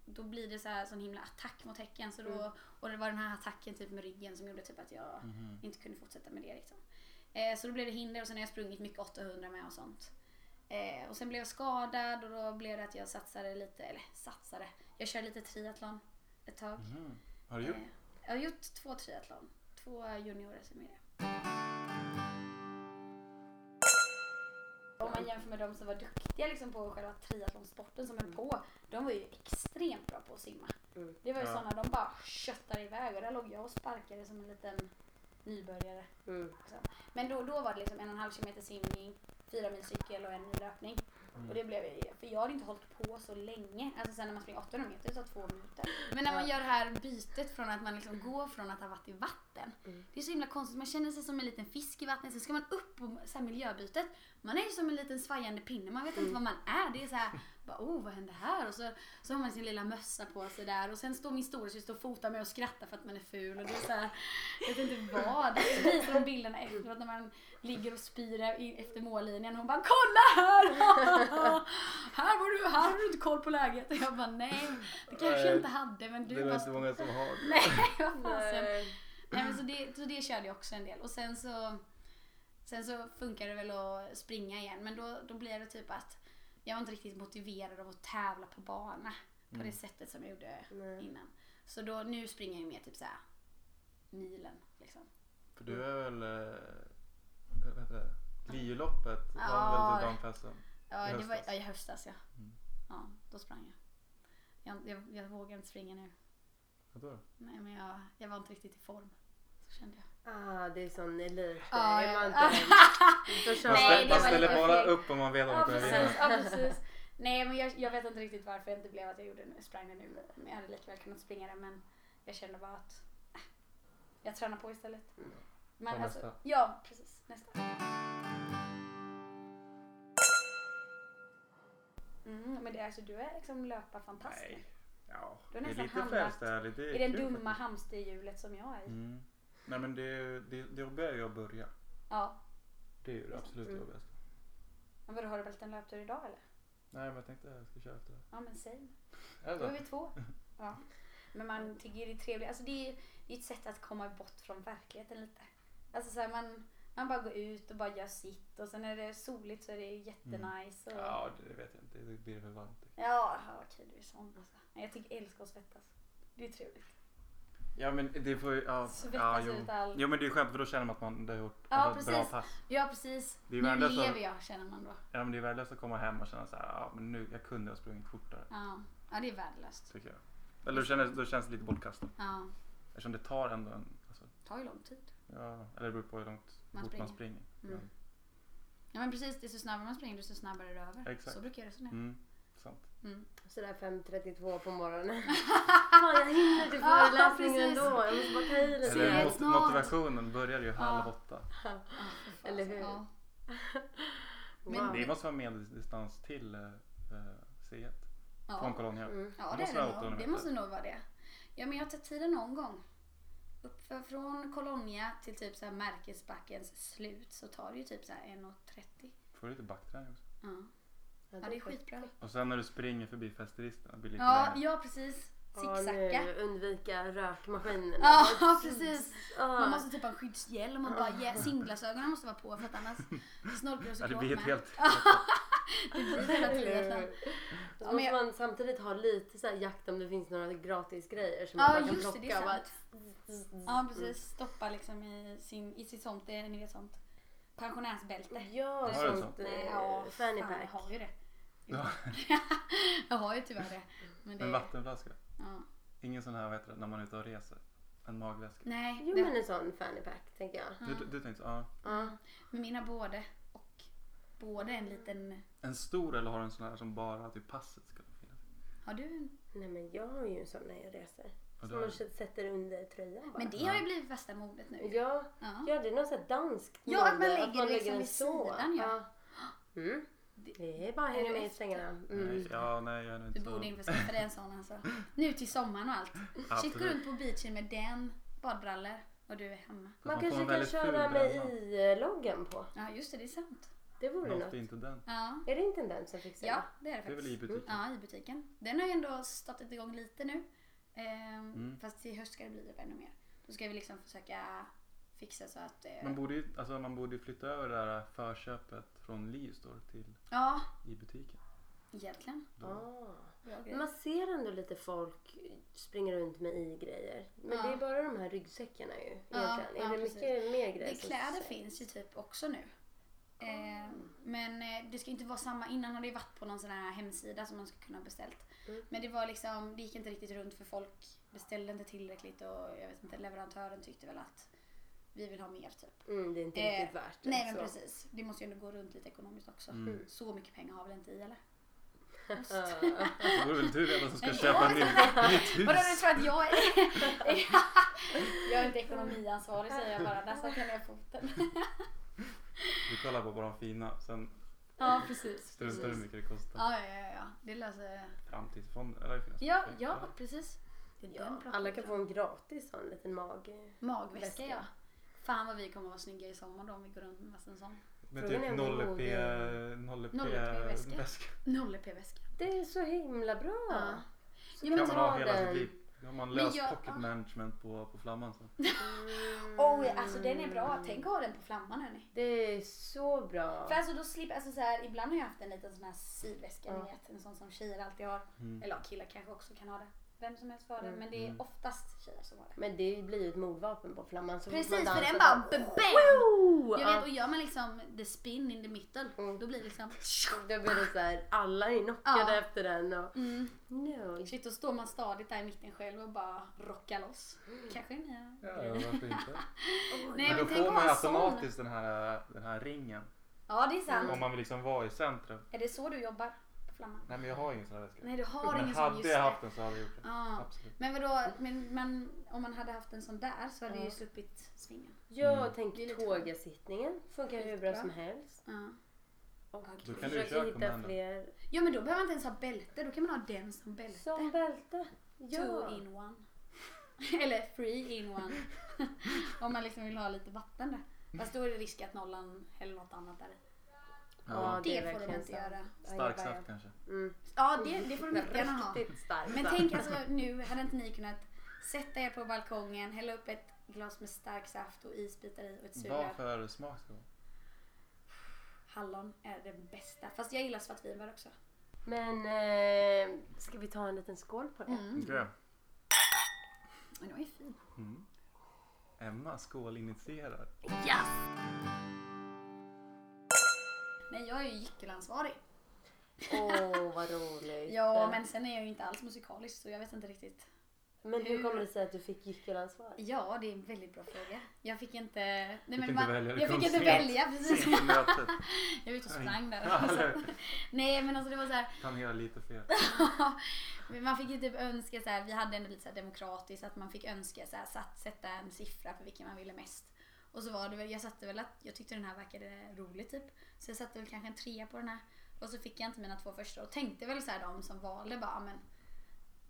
B: då blir det så här sån himla attack mot häcken. Så då, Och det var den här attacken typ med ryggen som gjorde typ att jag inte kunde fortsätta med det. Liksom. Eh, så då blev det hinder och sen har jag sprungit mycket 800 med och sånt. Eh, och sen blev jag skadad och då blev det att jag satsade lite, eller satsade, jag körde lite triathlon ett tag.
C: Mhm. Har du gjort?
B: Eh, Jag har gjort två triathlon, två juniorer som är det. Om man jämför med de som var duktiga liksom på själva triathlonsporten som höll på, de var ju extremt bra på att simma.
A: Mm.
B: Det var ju
C: Ja.
B: sådana, de bara köttade iväg och där låg jag och sparkade som en liten nybörjare.
A: Mm.
B: Men då, då var det liksom en och en halv kilometer simning, fyra mil cykel och en mil löpning. Och det blev ju, för jag hade inte hållit på så länge. Alltså sen när man springer 800 meter, det tar två minuter. Men när man gör det här bytet från att man liksom går från att ha varit i vatten.
A: Mm.
B: Det är så himla konstigt, man känner sig som en liten fisk i vattnet. Sen ska man upp och så här miljöbytet. Man är ju som en liten svajande pinne, man vet inte vad man är. Det är så här, bara, oh vad hände här? Och så, så har man sin lilla mössa på sig där. Och sen står min storasyster och fotar mig och skrattar för att man är ful. Och det är så här, jag vet inte vad. Så visar de bilderna efteråt när man ligger och spyr i- efter mållinjen. Hon bara kolla här! <laughs> här, var du, här har du inte koll på läget. Och jag bara nej, det kanske jag inte hade men
C: det
B: du
C: är nog
B: bara...
C: inte många som har det.
B: <laughs> Nej, vad fasen.
A: Nej.
B: Nej, men så, det, så det körde jag också en del. Och sen så, sen så funkar det väl att springa igen. Men då, då blir det typ att jag var inte riktigt motiverad av att tävla på bana på det sättet som jag gjorde
A: Nej.
B: innan. Så då, nu springer jag ju mer typ såhär milen. Liksom.
C: För du är väl... Äh, vad heter det? Lioloppet
B: Ja.
C: var väl typ damfesten?
B: Ja,
C: I
B: det var,
C: höstas.
B: ja, i höstas ja.
C: Mm.
B: Ja, då sprang jag. Jag, jag, jag vågar inte springa nu.
C: Vadå då?
B: Nej, men jag, jag var inte riktigt i form. Så kände jag.
A: Ah, det är sån elit.
B: Ah, Ja,
A: är man
B: <laughs> ja.
A: inte Då kör
C: Man,
B: Nej,
C: ställer,
B: det
C: man
B: var
C: ställer
B: lite
C: bara
B: fegt.
C: upp om man vet att man
B: Ja
C: kommer
B: precis,
C: vinna.
B: ja, precis. Nej men jag, jag vet inte riktigt varför det inte blev att jag gjorde nu, sprang det nu. Men jag hade lika väl kunnat springa det men jag kände bara att äh, jag tränar på istället.
A: Mm.
B: Men
C: Ta
B: alltså,
C: nästa.
B: ja precis, nästa. Mm, men det, är alltså, du är liksom löparfantast.
C: Nej. Ja,
B: Du har
C: det är
B: nästan
C: lite
B: hamnat
C: frälsärlig. Det
B: I
C: är,
B: det
C: kul
B: dumma
C: faktiskt.
B: hamsterhjulet som jag är i.
C: Mm. Nej men det, är ju- det, det jobbiga är ju att börja.
B: Ja.
C: Det är ju det absolut
A: Mm.
C: jobbigaste.
B: Men vadå, har du väl en löptur idag eller?
C: Nej men jag tänkte att jag ska köra efter det.
B: Ja men säg.
C: Är det
B: Då
C: så?
B: är vi
C: <laughs>
B: två. Ja. Men man tycker det är trevligt. Alltså det är det är ett sätt att komma bort från verkligheten lite. Alltså så här, man, man bara går ut och bara gör sitt och sen är det soligt så är det jättenice. Och...
C: Mm. Ja, det vet jag inte. Det blir för varmt.
B: ja, okej du är sån alltså. Nej, Jag tycker jag älskar att svettas. Det är trevligt.
C: Ja, men det får ju... Ja, ja,
B: Svettas
C: jo.
B: ut all...
C: jo, men det är skönt för då känner man att man har gjort
B: Ja,
C: alltså, ett bra
B: precis.
C: pass.
B: Ja precis.
C: Det är
B: Nu
C: ju värdelöst att-
B: lever jag känner man då.
C: Ja, men det är värdelöst att komma hem och känna så här, ja, men nu, jag kunde ha sprungit fortare,
B: Ja, ja det är värdelöst.
C: tycker jag. Eller då känns, då känns det lite bortkastat.
B: Ja,
C: Eftersom det tar ändå en... Alltså,
B: det tar ju lång tid.
C: ja, eller det beror på hur långt
B: Man
C: fort man
B: springer.
C: springer.
B: Mm. Ja men precis, desto snabbare man springer desto snabbare är det över.
C: Exakt.
B: Så brukar jag resonera.
C: Mm, sant.
B: Mm.
A: Sådär 5.32 på
B: <laughs>
A: morgonen. Fan, jag hinner till
B: Ja,
A: föreläsningen
B: precis.
A: ändå. Jag måste bara ta i lite.
C: Eller
A: grann.
B: Ses
C: mot,
B: snart.
C: motivationen börjar ju halv
B: Ja.
C: åtta.
B: Ja, för fan.
A: Eller hur?
B: Ja.
A: Wow.
C: Det måste vara medeldistans till eh, eh, C1
B: Ja.
C: från Kolånghem.
A: Mm.
B: Ja,
C: Det
B: det,
C: måste
B: är
C: vara
B: det, nog.
C: 800
B: det måste nog vara det. Ja, men jag har tagit tiden någon gång. Upp för, från Colonia till typ så här Märkesbackens slut så tar det ju typ så här 1.30.
C: Får du lite backträning också.
B: Ja. ja, det är skitbra.
C: Och sen när du springer förbi festeristerna blir det lite
B: Ja,
C: längre.
B: ja precis.
A: Ja,
B: Zigzacka.
A: nu undvika rökmaskinerna. Ah.
B: Ja, <laughs> precis.
A: Ja.
B: Man måste typ ha en skyddshjälm och bara yeah, simglasögonen måste vara på för att
C: <laughs>
B: annars snorkar du
C: Ja,
B: såklart
C: det
B: med.
C: blir ett helt...
B: Det blir ett jävla triathlon.
A: Så
B: Ja, men
A: måste
B: jag-
A: man samtidigt ha lite så här jakt om det finns några gratis grejer som
B: Ja,
A: man bara kan
B: just det,
A: plocka.
B: det är
A: och bara-
B: Ja, precis. Stoppa liksom i, sin, i sitt sånt, eh, ni vet sånt pensionärsbälte.
A: Ja,
C: Har du
A: sånt.
C: sånt?
A: eh,
B: ja,
A: fanny
B: fan, jag
A: pack.
B: har ju det.
C: Ja.
B: <laughs> jag har ju tyvärr det. Men det
C: En vattenflaska.
B: ja.
C: Ingen sån här, vad heter det, när man är ute och reser. En magväska.
B: Nej,
A: Jo
B: det,
A: men en sån fanny pack tänker jag.
B: ja.
C: Du, du, du tänkte, ja.
A: Ja.
B: men mina både och. Både en liten...
C: En stor eller har du en sån här som bara typ passet skulle finnas?
B: Har du en?
A: Nej men jag har ju en sån när jag reser.
C: Och
A: Som man
C: där-
A: sätter under tröjan bara.
B: Men det har ju blivit värsta modet nu.
A: Ja,
B: Ja.
A: ja det är något sånt danskt
B: Ja, att
A: mode,
B: man lägger det liksom
A: den
B: vid sidan, ja.
A: Ja. Mm.
B: Det-
A: Det är bara att hänga med i
B: Efter.
A: svängarna. Mm.
C: Nej, ja, nej, jag är nog
B: Du
C: inte
B: borde
C: så...
B: införskaffa dig en sån alltså. Nu till sommaren och allt. Shit, gå
C: Absolut.
B: runt på beachen med den, badbrallor och du är hemma.
C: Fast
A: Man
C: får
A: kanske
C: en
A: kan
C: väldigt ful
A: köra med
C: bränna.
A: i-loggen på.
B: Ja, just det, det är sant.
A: Det vore
C: Varför
A: något.
C: inte den?
B: Ja,
A: Är det inte en som fixar
B: ja det är det
C: Det är väl
B: faktiskt.
C: i
A: Mm.
C: butiken?
B: Ja, i butiken. Den har ju ändå startat igång lite nu. Ehm,
C: Mm.
B: typ Fast i höst ska det bli ännu mer. Då ska vi liksom försöka fixa så att det...
C: Man borde ju alltså, man borde ju flytta över det där förköpet från Livstore till
B: Ja,
C: i butiken.
B: egentligen.
C: Då-
A: Ah.
B: Bra grej.
A: Man ser ändå lite folk springa runt med i-grejer. Men
B: Ja.
A: det är bara de här ryggsäckarna ju. Egentligen.
B: ja,
A: är det
B: precis.
A: mycket mer grejer?
B: Det,
A: som-
B: kläder finns ju typ också nu. Eh, men eh, det ska inte vara samma. Innan hade det varit på någon sån här hemsida som man skulle kunna ha beställt.
A: Mm.
B: Men det var liksom, det gick inte riktigt runt för folk beställde inte tillräckligt och jag vet inte, leverantören tyckte väl att vi vill ha mer typ.
A: Mm, det är inte
B: Eh,
A: riktigt värt det.
B: Nej men
A: så.
B: precis, det måste ju ändå gå runt lite ekonomiskt också.
C: Mm.
B: Så mycket pengar har väl inte i eller?
A: Ah.
C: Då vore det väl
A: <laughs>
C: du redan som ska
B: Nej,
C: köpa
B: jag-
C: ett nytt- nytt
B: Vadå du
C: hus.
B: tror att jag är... <laughs> jag är inte ekonomiansvarig säger jag bara, där satte jag ner foten.
C: Du kollar på bara de fina. Sen
B: ja precis.
C: struntar du hur mycket det kostar.
B: Ja, ja, ja, ja, det löser jag.
C: Framtidsfonden. Eller det finns
B: Ja,
C: projekt,
B: ja,
C: eller?
B: precis. Det är den
A: Ja,
B: pratar
A: alla
B: vi
A: kan
B: om.
A: få en gratis sån liten mag.
B: Magväska
A: väska.
B: ja. Fan vad vi kommer vara snygga i sommar då om vi går runt med massa en sån.
C: Med
A: Frågan är
C: typ
A: om det
C: 0 p
A: vågar-
C: 0
B: 0p-väska.
C: p-väska.
B: 0EP-väska.
A: Det är så himla bra.
B: Ja.
A: Så
B: Ja, men
C: kan
B: ta
C: man ha
A: den.
C: hela sitt liv. Då har man
B: Men
C: löst
B: jag- ah.
C: pocket management på, på flamman sen.
A: Mm.
B: Oj, alltså den är bra. Tänk att ha den på flamman hörni.
A: Det är så bra.
B: För alltså då slipper, alltså så här, ibland har jag haft en liten sån här sidväska,
A: Ja.
B: ni vet. En sån som tjejer alltid har.
C: Mm.
B: Eller ja, killar kanske också kan ha det. Vem som helst får ha den,
A: Mm.
B: men det är oftast tjejer som har det.
A: Men det blir ju ett mordvapen på flamman. Så fort
B: Precis,
A: man
B: för
A: dansar
B: den bara bam!
A: Wow! Mm.
B: Jag
A: Ja,
B: vet, och gör man liksom the spin in the middle,
A: Mm.
B: då blir det liksom...
A: Då blir det så här, alla är knockade
B: Ja.
A: efter den. Och,
B: Mm.
A: no.
B: Shit, då står man stadigt där i mitten själv och bara rockar loss. Kanske är nya
C: Ja, ja, varför inte?
B: Nej,
C: Men då
B: tänk
C: får
B: att
C: man ju
B: ha en sån.
C: automatiskt den här, den här ringen.
B: Ja, det är sant.
C: Om man vill liksom vara i centrum.
B: Är det så du jobbar på Flamman?
C: Nej men jag har ingen sån här väska.
B: Nej, du har
C: men
B: ingen sån just
C: hade jag
B: det.
C: haft den så hade jag gjort det.
B: Ja.
C: Absolut.
B: Men vadå, men, men, om man hade haft en sån där så hade
A: Ja.
B: du ju sluppit svingen.
A: Jag
C: Mm.
B: Det är
A: tänker
B: lite
A: tågasittningen funkar hur bra
B: Skitbra.
A: som helst.
B: Ja.
A: Och
C: Då kan du ju
A: försöker
C: köra
A: hitta
C: kommando.
A: fler.
B: ja, men då behöver man inte ens ha bälte. Då kan man ha den som bälte.
A: Som bälte.
B: Two
A: Ja.
B: in one. <laughs> Eller three in one. <laughs> om man liksom vill ha lite vatten där. Fast då är det risk att nollan häller något annat där i.
A: Ja,
C: Ja.
A: det är
B: Det får de
A: verkligen
B: inte
A: sant.
B: göra.
C: Stark saft kanske.
A: Mm.
B: Ja, det, det får de mycket gärna ha.
A: Riktigt stark
B: Men
A: saft.
B: tänk alltså nu, hade inte ni kunnat sätta er på balkongen, hälla upp ett glas med stark saft och isbitar i och ett
C: Vad
B: sugrör.
C: för smak ska det vara?
B: Hallon är det bästa. Fast jag gillar svartvinbär också.
A: Men eh, ska vi ta en liten skål på det?
B: Mm.
C: Grön.
B: Den var ju fin.
C: Mm.
B: <laughs>
C: Emma skålinitierar.
B: Yes! Nej, jag är ju gyckelansvarig.
A: Åh, vad roligt.
B: Ja, men sen är jag ju inte alls musikalisk så jag vet inte riktigt.
A: Men hur
B: hur-
A: kommer det sig att du fick gyckelansvar?
B: Ja, det är en väldigt bra fråga. Jag fick inte... Nej, men
C: inte välja, det
B: jag
C: kom
B: fick inte
C: sent.
B: välja,
C: <laughs>
B: precis.
C: Sent i mötet.
B: Jag var ute och sprang där.
C: Ja, eller hur?
B: <laughs> Nej, men alltså det var så här...
C: Planerar lite fel.
B: Men man fick ju typ önska så här, vi hade ändå lite så här demokratiskt att man fick önska så här, satt, sätta en siffra på vilken man ville mest. Och så var det väl, jag satte väl att jag tyckte den här verkade rolig typ. Så jag satte väl kanske en trea på den här. Och så fick jag inte mina två första och tänkte väl så här de som valde bara, "Ah, men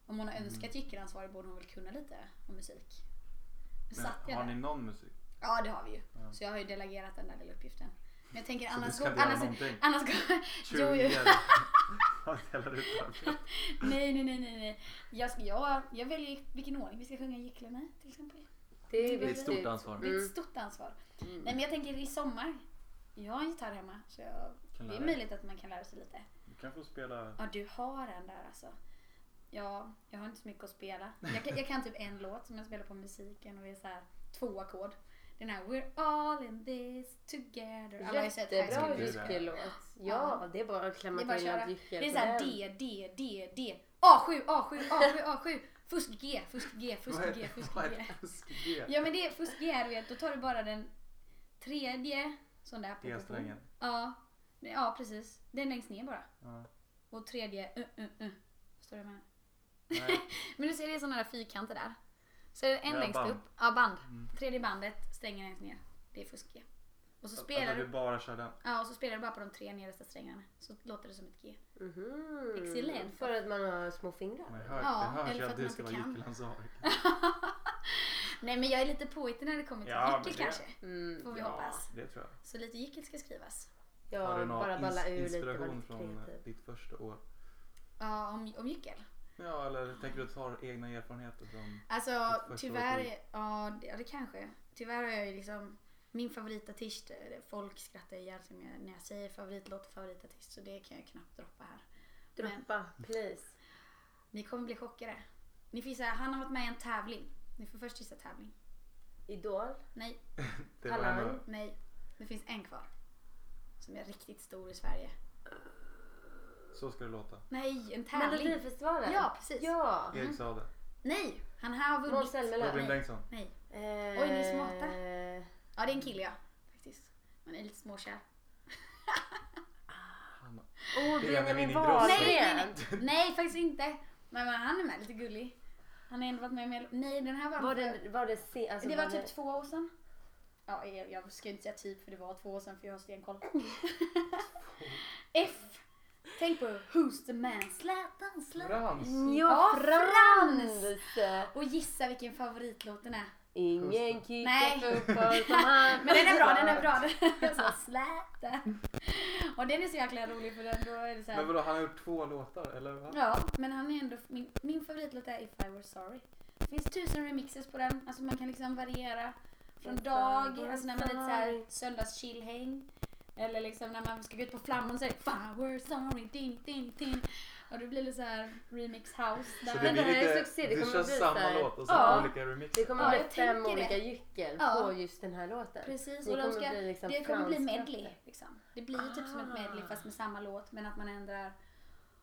B: om hon har
C: Mm.
B: önskat gyckelansvarig borde hon väl kunna lite om musik. Men
C: Men
B: satt jag
C: har
B: där.
C: ni någon musik?
B: Ja det har vi ju.
C: Ja.
B: Så jag har ju delegerat den där lilla uppgiften. Men jag tänker
C: Så du
B: annars...
C: ska inte göra
B: annars,
C: någonting?
B: annars går- <laughs> Jo, jo. <laughs> Typ.
C: Tjugo Vad delar du ut här?
B: Nej, nej, nej, nej. nej. Jag, ska- jag, jag väljer vilken ordning vi ska sjunga gycklarna i till exempel.
A: Det
B: Det är ett
A: viktigt.
C: stort ansvar.
B: Det är
A: Mm.
B: ett stort ansvar.
A: Mm.
B: Nej men jag tänker i sommar. Jag har en gitarr hemma så jag,
C: Kan
B: det är
C: lära dig.
B: möjligt att man kan lära sig lite.
C: Du kan få spela
B: Ja du har en där alltså. Ja, jag har inte så mycket att spela. Jag kan, jag kan typ en låt som jag spelar på musiken och det är så här två ackord. Den här We're all in this together. Alla har ju sett High
A: Jättebra
B: School
C: ju.
B: Musical.
A: gyckelåt. Ja, det är bara att
B: Det
A: klämma
B: är bara att
A: till
B: köra.
A: en
B: Det
A: gyckel.
B: är
A: på
B: så här
A: den.
B: D, D, D, D. A7, A7, A7, A7. Fusk G, fusk G, fusk
C: Vad är-
B: G, fusk
C: vad är
B: G.
C: fusk-G?
B: Ja men det är fusk G är du vet, då tar du bara den tredje sån där på- på- på.
C: G-strängen.
B: Ja. Nej, Ja precis. Den längst ner bara.
C: Ja.
B: Och tredje uh, uh, uh. Förstår du vad jag menar?
C: Nej.
B: <laughs> Men du ser det är såna där fyrkanter där. Så är det en
C: Ja,
B: längst
C: band.
B: upp. Ja band.
C: Mm.
B: Tredje bandet stänger längst ner. Det är fusk G. Och så spelar
C: Alltså du
B: du
C: bara kör den.
B: Ja och så spelar du bara på de tre nedersta strängarna. Så låter det som ett G.
A: Mhm.
B: Excellent.
A: För att man har små fingrar.
C: Man hör,
B: Ja,
C: det hörs
B: eller
C: ju
B: för
C: att
B: att
C: du
B: man
C: ska vara
B: inte kan.
C: gyckelansvarig.
B: Nej men jag är lite påhittig när det kommer till
C: Ja, men
B: gyckel
C: det-
B: kanske.
A: Mm.
B: Får vi hoppas.
C: det tror jag.
B: Så lite gyckel ska skrivas.
A: Ja,
C: Har du någon
A: bara balla
C: ins-
A: ur lite. vara
C: inspiration
A: lite
C: från eh,
A: kreativ.
C: ditt första år?
B: Ja om, om gyckel.
C: Ja, eller tänker du ta egna erfarenheter från...
B: Alltså
C: första
B: tyvärr,
C: året.
B: ja det, ja det kanske. Tyvärr har jag ju liksom, min favoritartist, eh, folk skrattar ihjäl sig när jag- när jag säger favoritlåt och favoritartist så det kan jag knappt droppa här. Men
A: Droppa, please.
B: ni kommer bli chockade. Ni får gissa, han har varit med i en tävling. Ni får först gissa tävling.
A: Idol.
B: Nej,
C: Det var
A: Talang.
C: ändå,
B: nej. Det finns en kvar. Som är riktigt stor i Sverige.
C: så ska det låta.
B: Nej, en tävling.
A: Melodifestivalen.
B: Ja, precis.
A: Ja.
C: Erik Saade.
B: Nej, han här har
A: Måns
B: vunnit.
A: Zelmerlöw.
C: Robin Bengtsson.
B: Nej.
A: Eh,
B: Oj, ni smarta. Ja, det är en kille ja. Faktiskt. Man är lite småkär.
C: Han-
A: Oh,
C: Benjamin
A: Benjamin
C: Ingrosso.
B: Nej, nej,
A: Wahlgren.
B: nej. Nej, faktiskt inte. Nej, men han är med lite gullig. Han har ändå varit med i Melo- Nej, den här var,
A: Var det, var det, se, alltså,
B: Det var
A: det-
B: typ två år sedan. Ja, jag, jag ska inte säga typ för det var två år sedan för jag har stenkoll. <laughs> F. Tänk på Who's the man? Zlatan, Zlatan.
C: <laughs> Frans.
A: Ja,
B: Ja,
A: Frans!
B: Och gissa vilken favoritlåt den är.
A: Ingen kickar
B: Nej. <laughs>
A: fotboll som han.
B: Men den är bra, den är bra. <laughs> Den är så Zlatan. Och den är så jäkla rolig för den, då är det så
C: Men
B: här.
C: vadå, han har gjort två låtar, eller? va?
B: Ja, men han är ändå, min, min favoritlåt är If I Were Sorry. Det finns tusen remixes på den, alltså man kan liksom variera från
A: If I
B: dag,
A: were
B: alltså när man är lite
A: sorry.
B: såhär söndagschillhäng. Eller liksom när man ska gå ut på flamman så är det If I Were Sorry, ding, ding, ding. Och det blir lite såhär remix house
C: Så
B: där.
C: det
A: Men det
C: blir
A: här är
C: lite,
A: succé, det
C: du
A: kommer
C: kör
A: bli så
C: samma
A: här-
C: låt och sen
B: Ja.
C: olika
A: Det
C: remixer.
A: kommer
B: Ja,
A: bli
B: jag
A: fem
B: tänker
A: olika
B: det.
A: gyckel
B: Ja.
A: på just den här låten.
B: Precis,
A: Det
B: och de
A: kommer
B: ska,
A: bli liksom
B: det kommer bli
A: franska.
B: medley. Liksom. Det blir ju typ som ett medley
A: Ah.
B: fast med samma låt men att man ändrar.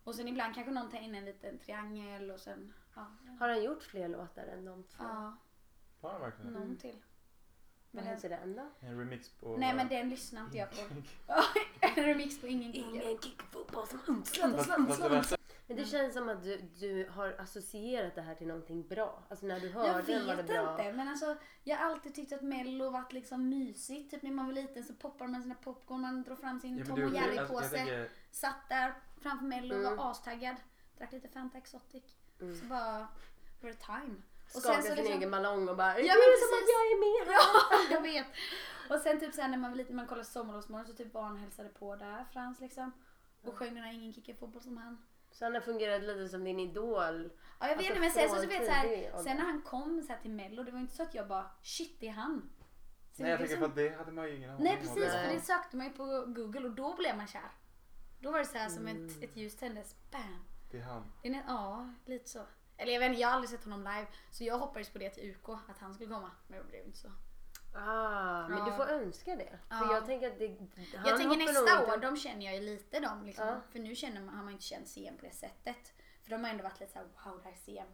B: Och sen ibland kanske någon tar in en liten triangel och sen, ja.
A: Har han gjort fler låtar än de två?
B: ja
C: Har han verkligen det?
A: Mm.
B: någon till.
A: Vad
B: den-
A: heter den då?
C: En remix på...
B: Nej men den lyssnar inte
C: <laughs>
B: jag på. <laughs> en remix på ingen kicker.
A: Ingen kickar fotboll som han.
C: Fast- fast det värsta-
A: Men det känns som att du, du har associerat det här till någonting bra. Alltså när du
B: Jag
A: hörde den var
B: vet
A: det bra.
B: inte men alltså jag har alltid tyckt att mello varit liksom mysigt. Typ när man var liten så poppade man sina popcorn, man drog fram sin
C: Ja, men
B: Tom
C: du-
B: och Jerry
C: alltså, jag
B: påse.
C: tänker-
B: Satt där framför mello och
A: Mm.
B: var astaggad. Drack lite Fanta Exotic. Så bara var det time. Och
A: Skakade
B: sen så
A: sin
B: liksom, <laughs>
A: egen ballong och bara
B: Ja,
A: "Det
B: men
A: är som att
B: precis.
A: jag är med här.
B: Ja, jag vet. Och sen typ såhär när man var liten, man kollade Sommarlovsmorgon så typ var han hälsade på där, Frans liksom.
A: Mm.
B: Och sjöng den här Ingen kickar fotboll som han.
A: Så han har fungerat lite som din idol.
B: Ja jag vet
A: Alltså,
B: inte men sen så,
A: från
B: så vet jag
A: tidig
B: såhär,
A: ålder.
B: sen när han kom så här till mello, det var ju inte så att jag bara shit det är han. Så
C: Nej jag
B: det
C: tänker
B: som-
C: på att det hade man ju ingen aning
B: Nej
C: om.
B: precis
A: Nej.
B: för det sökte man ju på google och då blev man kär. Då var det så här som
A: Mm.
B: ett, ett ljus tändes, bam.
C: Det är han.
B: Det är en, ja lite så. Eller jag vet inte, jag har aldrig sett honom live så jag hoppades på det till UK att han skulle komma. Men det blev inte så.
A: Ah, men
B: Ja.
A: du får önska det. För
B: Ja.
A: jag tänker att det, han
B: jag tänker
A: hoppar nog
B: nästa
A: inte-
B: år, de känner jag ju lite de liksom.
A: Ja.
B: För nu känner man, har man inte känt CM på det sättet. För de har ändå varit lite såhär wow det här är CM.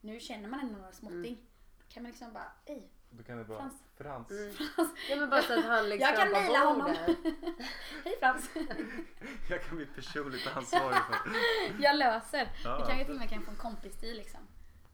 B: Nu känner man ändå några småtting.
A: Mm.
B: Då kan man liksom bara, <laughs> Alltså, ej.
C: Då kan det vara Frans.
B: Frans. Mm.
A: Ja men bara så att han liksom
B: <laughs> Jag kan
A: bara
B: mejla
A: bor
B: honom.
A: där.
B: Hej
C: <laughs>
B: Frans!
C: <laughs> Jag kan bli personligt ansvarig för.
B: jag löser.
C: Ja.
B: Vi kan ju till och med kan få en kompisstil liksom.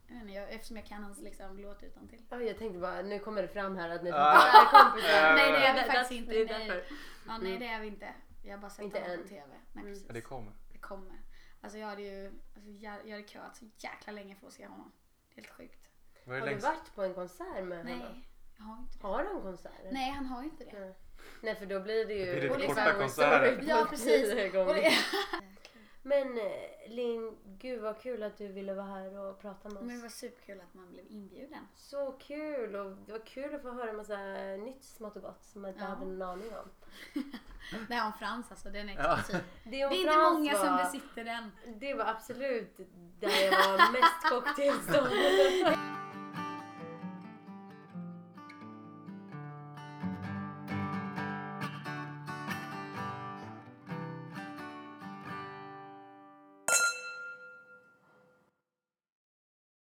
B: Jag vet inte, jag, eftersom jag kan hans liksom,
A: <laughs>
B: låt utantill.
A: Ja, jag tänkte bara, nu kommer det fram här att ni
C: Ah.
A: är kompisar.
C: Ja,
B: nej det är
A: Det
B: vi
A: är
B: faktiskt
A: där-
B: inte.
A: det är
B: nej.
A: därför. Mm.
B: Ja, nej det är vi inte. Jag har bara sett
A: Inte
B: honom
A: än. Mm.
B: på TV. Nej, precis.
C: Men det kommer.
B: Det kommer. Alltså jag hade ju, alltså, jag, jag hade köat så jäkla länge för att se honom. Det är helt sjukt.
C: Vad är
A: Har
C: det
A: du
C: längst?
A: varit på en konsert med honom?
B: Nej, jag har inte det.
A: Har han konserter?
B: Nej, han har ju inte det.
A: Nej. Nej för då blir det ju...
C: Då blir det
A: och
B: korta
A: liksom-
C: konserter.
A: på
B: Ja, precis.
A: tio gånger.
B: Och det-
A: Men eh, Linn, gud vad kul att du ville vara här och prata med oss.
B: <laughs> Men det var superkul att man blev inbjuden.
A: Så kul och det var kul att få höra en massa nytt smått och gott som man inte
B: Ja.
A: hade någon aning om.
B: Det här om Frans alltså, den är
C: Ja.
B: exklusiv.
A: Det, om
B: Det är inte
A: Frans
B: många som
A: var-
B: besitter den. <laughs>
A: Det var absolut där jag var mest chockad. <laughs>